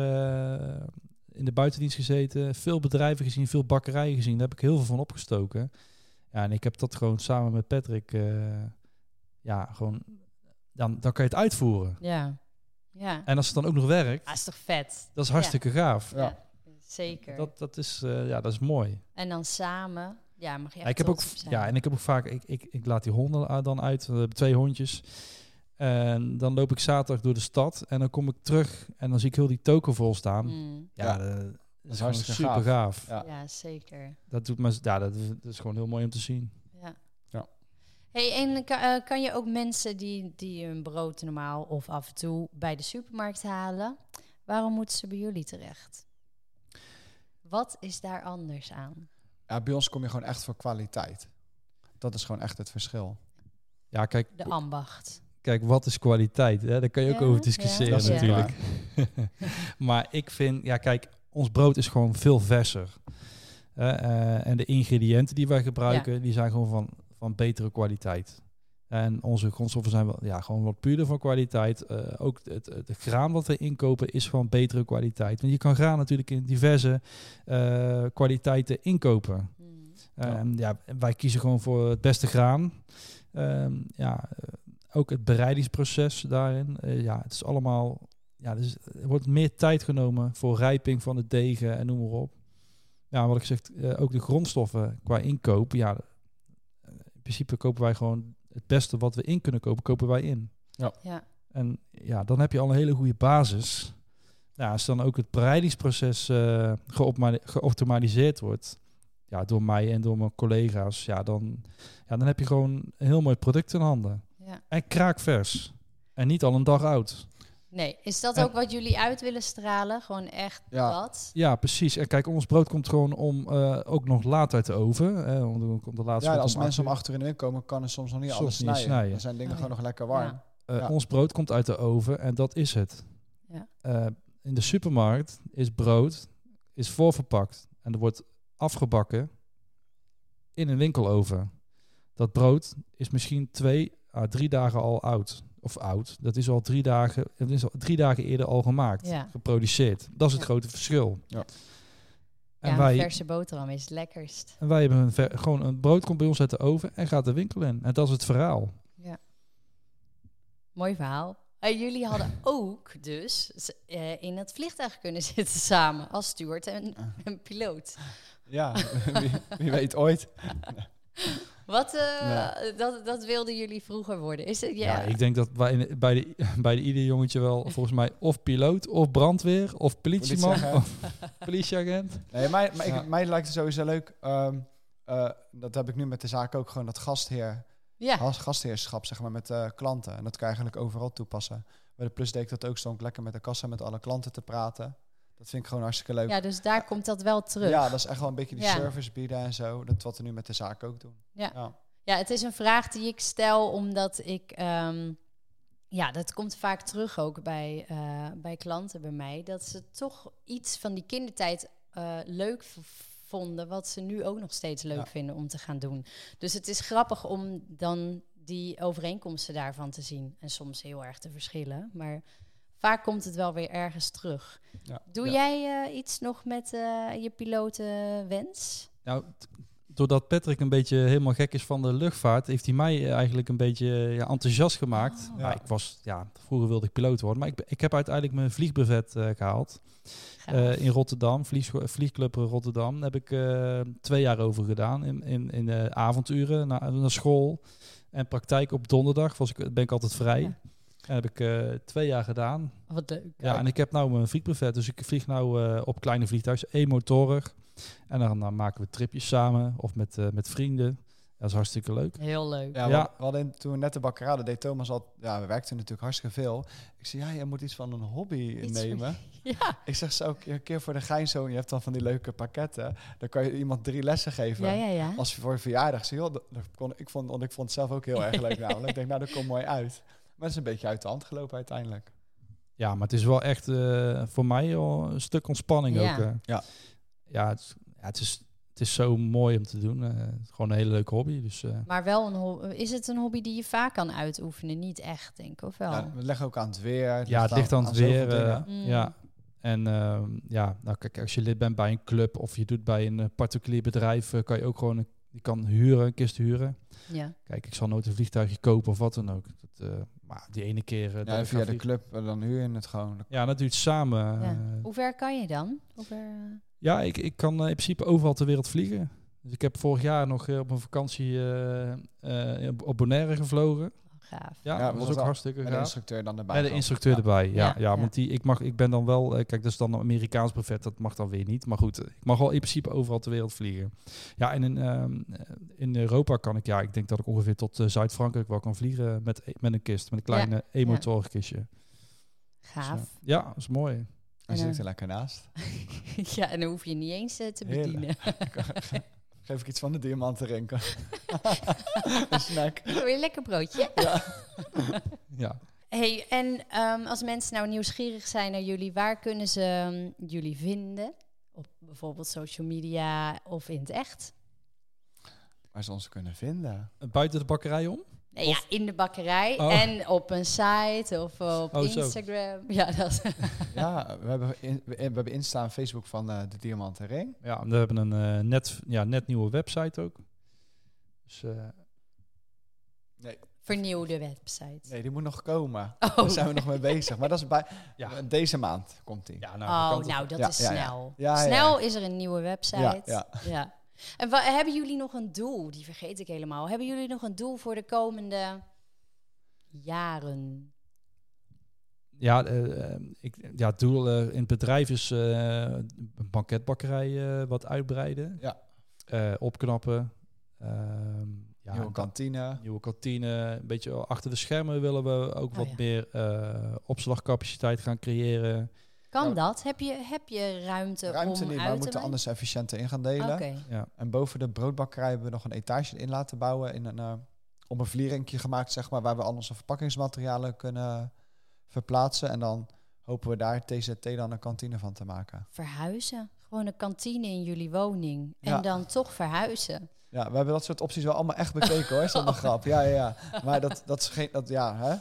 eh, in de buitendienst gezeten, veel bedrijven gezien, veel bakkerijen gezien. Daar heb ik heel veel van opgestoken. Ja, en ik heb dat gewoon samen met Patrick, eh, ja, gewoon, dan, dan kan je het uitvoeren. Ja. Ja. En als het dan ook nog werkt, Ah, is toch vet? dat is hartstikke gaaf. Ja. Zeker. Dat, dat, is, eh, ja, dat is mooi. En dan samen, ja, mag je Ja, echt ik heb ook, trots op zijn. ja, en ik heb ook vaak, ik, ik, ik laat die honden a- dan uit. We hebben twee hondjes. En dan loop ik zaterdag door de stad en dan kom ik terug en dan zie ik heel die token vol staan. Mm, Ja, eh, Ja. dat, dat is, hartstikke hartstikke super gaaf. Ja. ja. zeker. Dat, doet me, ja, dat, is- dat is gewoon heel mooi om te zien. Ja. Ja. Hey, en ka- eh, kan je ook mensen die, die hun brood normaal of af en toe bij de supermarkt halen, waarom moeten ze bij jullie terecht? Wat is daar anders aan? Ja, bij ons kom je gewoon echt voor kwaliteit. Dat is gewoon echt het verschil. Ja, kijk, De ambacht. kijk wat is kwaliteit? Hè? Daar kan je ook Ja, over ja. discussiëren Dat is natuurlijk. maar ik vind, ja kijk, ons brood is gewoon veel verser. Hè, eh, en de ingrediënten die wij gebruiken, die zijn gewoon van, van betere kwaliteit. En onze grondstoffen zijn wel, ja, gewoon wat puurder van kwaliteit. Eh, ook het, het, het graan wat we inkopen is van betere kwaliteit. Want je kan graan natuurlijk in diverse eh, kwaliteiten inkopen. Mm. Ehm, ja. wij kiezen gewoon voor het beste graan. Ehm, ja, eh, ook het bereidingsproces daarin. eh, ja, het is allemaal. Ja, dus er wordt meer tijd genomen voor rijping van de degen en noem maar op. Ja, wat ik zeg, eh, ook de grondstoffen qua inkoop. Ja, eh, in principe kopen wij gewoon het beste wat we in kunnen kopen, kopen wij in. Ja. En ja, dan heb je al een hele goede basis. Nou, als dan ook het bereidingsproces eh, geopma- geoptimaliseerd wordt, ja, door mij en door mijn collega's, ja, dan, ja, dan heb je gewoon een heel mooi product in handen. ja. En kraakvers. En niet al een dag oud. Nee, is dat En- ook wat jullie uit willen stralen? Gewoon echt Ja. dat? Ja, precies. En kijk, ons brood komt gewoon om eh, ook nog laat uit de oven. eh, want dan komt de laatste Ja, komt als om mensen om acht uur. acht uur in de wind komen, kan er soms nog niet Soms alles niet snijden. snijden. Dan zijn dingen Oh, ja. gewoon nog lekker warm. Ja. Eh, ja. Ons brood komt uit de oven en dat is het. Ja. Eh, in de supermarkt is brood is voorverpakt en er wordt afgebakken in een winkeloven. Dat brood is misschien twee à drie dagen al oud. Of oud. Dat is al drie dagen, dat is al drie dagen eerder al gemaakt, Ja. geproduceerd. Dat is het Ja. grote verschil. Ja. En, ja, wij, verse boterham is het lekkerst. en wij hebben een ver- gewoon een brood komt bij ons uit de oven en gaat de winkel in. En dat is het verhaal. Mooi verhaal. Eh, jullie hadden ook dus z- eh, in het vliegtuig kunnen zitten samen als steward en, en piloot. Ja, wie, wie weet ooit. Wat, eh, Ja. dat, dat wilden jullie vroeger worden. Is het, Ja, ik denk dat wij in- bij, de, bij de ieder jongetje wel volgens mij of piloot of brandweer of politieman Politieagent. of politieagent. Nee, mij, mij, Ja. mij lijkt het sowieso leuk. ehm, eh, dat heb ik nu met de zaak ook gewoon dat gastheer, ja. has- gastheerschap, zeg maar, met eh, klanten. En dat kan je eigenlijk overal toepassen. Bij de plus deed ik dat ook stond ik lekker met de kassa met alle klanten te praten. Dat vind ik gewoon hartstikke leuk. ja, dus daar komt dat wel terug. Ja, Ja. dat is echt wel een beetje die Ja. service bieden en zo. Dat wat we nu met de zaak ook doen. Ja. ja. het is een vraag die ik stel omdat ik... ehm, ja, dat komt vaak terug ook bij, eh, bij klanten bij mij. Dat ze toch iets van die kindertijd eh, leuk v- vonden... wat ze nu ook nog steeds leuk Ja. vinden om te gaan doen. Dus het is grappig om dan die overeenkomsten daarvan te zien. En soms heel erg de verschillen. Maar vaak komt het wel weer ergens terug. Ja. Doe Ja. jij eh, iets nog met eh, je pilotenwens? Nou, t- doordat Patrick een beetje helemaal gek is van de luchtvaart, heeft hij mij eh, eigenlijk een beetje eh, ja, enthousiast gemaakt. Oh. Ja. Ja. ik was, ja, vroeger wilde ik piloot worden, maar ik, ik heb uiteindelijk mijn vliegbevet eh, gehaald Gaaf. eh, in Rotterdam, vlieg, vliegclub Rotterdam. Daar heb ik eh, twee jaar over gedaan in, in, in eh, avonduren naar, naar school en praktijk op donderdag. Was ik, ben ik altijd vrij. Ja. En heb ik eh, twee jaar gedaan. Wat leuk. Ja, en ik heb nou mijn vliegbuffet, dus ik vlieg nou eh, op kleine vliegtuigen, eenmotorig. En dan, dan maken we tripjes samen of met, eh, met vrienden. Dat is hartstikke leuk. Heel leuk. Ja, Ja. want We hadden in- toen we net de bakkeraden deed Thomas al... Ja, we werkten natuurlijk hartstikke veel. Ik zei, ja, jij moet iets van een hobby Iets van- nemen. Ja, Ik zeg zo ook een keer voor de gein zo, je hebt dan van die leuke pakketten. Dan kan je iemand drie lessen geven. ja, ja. ja. Als voor een verjaardag. Ik Zeg, joh, dat- dat kon, ik, vond, want ik vond het zelf ook heel erg leuk namelijk. Ik denk, nou, dat komt mooi uit. Maar het is een beetje uit de hand gelopen uiteindelijk. Ja, maar het is wel echt eh, voor mij al een stuk ontspanning Ja. ook. eh. Ja. Ja, het, ja, het is, het is zo mooi om te doen. eh, het is gewoon een hele leuke hobby. Dus eh, Maar wel een ho- is het een hobby die je vaak kan uitoefenen? Niet echt, denk ik, of wel? Ja, we leggen ook aan het weer. Het ja, het ligt aan het weer. zoveel dingen. eh, dingen. Mm. Ja. En ehm, ja, nou kijk, als je lid bent bij een club of je doet bij een eh, particulier bedrijf, eh, kan je ook gewoon een, je kan huren, een kist huren. Ja. Kijk, ik zal nooit een vliegtuigje kopen of wat dan ook. Dat, eh, maar die ene keer. eh, dat ja, ik via ga de vliegen- club, eh, dan huur je het gewoon. Ja, dat duurt samen. eh, Ja. Ja, Hoe ver kan je dan? Hoe ver, eh? ik, ik kan eh, in principe overal ter wereld vliegen. Dus ik heb vorig jaar nog eh, op een vakantie eh, eh, op- op Bonaire gevlogen. gaaf. Ja, Ja, dat was was ook wel- hartstikke Met de gaaf. instructeur dan erbij. Met de dan. instructeur Ja. erbij, ja. Ja, Ja, ja. want die, ik, mag, ik ben dan wel... eh, kijk, dat is dan een Amerikaans buffet, dat mag dan weer niet. Maar goed, eh, ik mag wel in principe overal ter wereld vliegen. Ja, en in, ehm, eh, in Europa kan ik... Ja, ik denk dat ik ongeveer tot eh, Zuid-Frankrijk wel kan vliegen met, e- met een kist. Met een kleine e-motorig kistje. Gaaf. Zo. Ja, dat is mooi. Hij En, zit eh, er lekker naast. ja, en dan hoef je niet eens eh, te Heerlijk. bedienen. Geef ik iets van de diamant erin. een snack. Wil je een lekker broodje? Ja. hey, en ehm, als mensen nou nieuwsgierig zijn naar jullie, waar kunnen ze ehm, jullie vinden? Op bijvoorbeeld social media of in het echt? Waar ze ons kunnen vinden. Buiten de bakkerij om? Nee, ja, in de bakkerij Oh. en op een site of op Oh, zo. Instagram. Ja, dat Ja, we hebben, in, we hebben Insta en Facebook van eh, de Diamanten Ring. Ja, we hebben een eh, net, ja, net nieuwe website ook. Dus eh, vernieuwde website. Nee, die moet nog komen. Oh, Daar zijn we nog mee bezig. Maar dat is bij, ja. deze maand komt Oh, die. ja, Oh, nou, dat kan nou, dat Ja, is ja, ja. snel. Ja, ja, snel is er een nieuwe website. Ja, Ja. En wa- hebben jullie nog een doel? Die vergeet ik helemaal. Hebben jullie nog een doel voor de komende jaren? toch- ja, eh, eh, ik, ja, het doel eh, in het bedrijf is eh, een banketbakkerij eh, wat uitbreiden. Ja. Eh, opknappen. Ehm, ja, Nieuwe kantine. nieuwe kantine. Een beetje achter de schermen willen we ook Oh, wat ja. meer eh, opslagcapaciteit gaan creëren. Kan Nou, dat? Heb je, heb je ruimte, Ruimte om uit niet, maar we te moeten breiden? anders efficiënter in gaan delen. Oké. Ja. En boven de broodbakkerij hebben we nog een etage in laten bouwen. In een, eh, om een vlierinkje gemaakt, zeg maar, waar we al onze verpakkingsmaterialen kunnen verplaatsen. En dan hopen we daar TZT dan een kantine van te maken. Verhuizen. Gewoon een kantine in jullie woning. En Ja. dan toch verhuizen. Ja, we hebben dat soort opties wel allemaal echt bekeken hoor, zonder grap. Ja, ja, ja. Maar dat, dat is geen... Dat, ja, hè?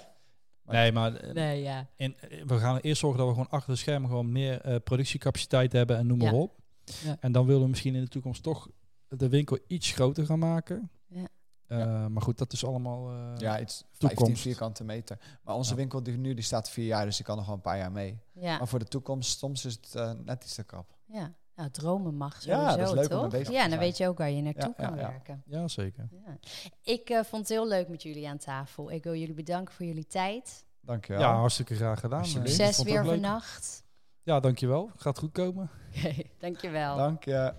Nee, maar eh, Nee, ja. En eh, we gaan eerst zorgen dat we gewoon achter de schermen gewoon meer eh, productiecapaciteit hebben en noem maar Ja. op. Ja. En dan willen we misschien in de toekomst toch de winkel iets groter gaan maken. Ja. Eh, Maar goed, dat is allemaal. eh, Ja, iets 15 toekomst. vierkante meter. Maar onze Ja. winkel die nu die staat vier jaar, dus die kan nog wel een paar jaar mee. Ja, Maar voor de toekomst, soms is het eh, net iets te krap. ja. Nou, dromen mag Ja, sowieso, dat is leuk om toch? mee bezig te ja, dan zijn. weet je ook waar je naartoe Ja, ja, kan ja. werken. ja, zeker. Ja. Ik eh, vond het heel leuk met jullie aan tafel. Ik wil jullie bedanken voor jullie tijd. Ja, Dankjewel. hartstikke graag gedaan. Alsjeblieft. eh. Ik Succes vond het weer ook leuk. vannacht. Ja, dankjewel. Gaat goed komen. Oké, dankjewel. Dank je.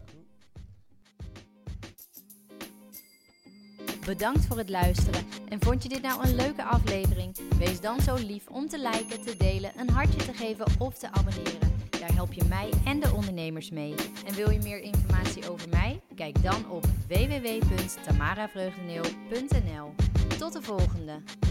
Bedankt voor het luisteren. En vond je dit nou een leuke aflevering? Wees dan zo lief om te liken, te delen, een hartje te geven of te abonneren. Daar help je mij en de ondernemers mee. En wil je meer informatie over mij? Kijk dan op www.tamaravreugdeneel.nl. Tot de volgende!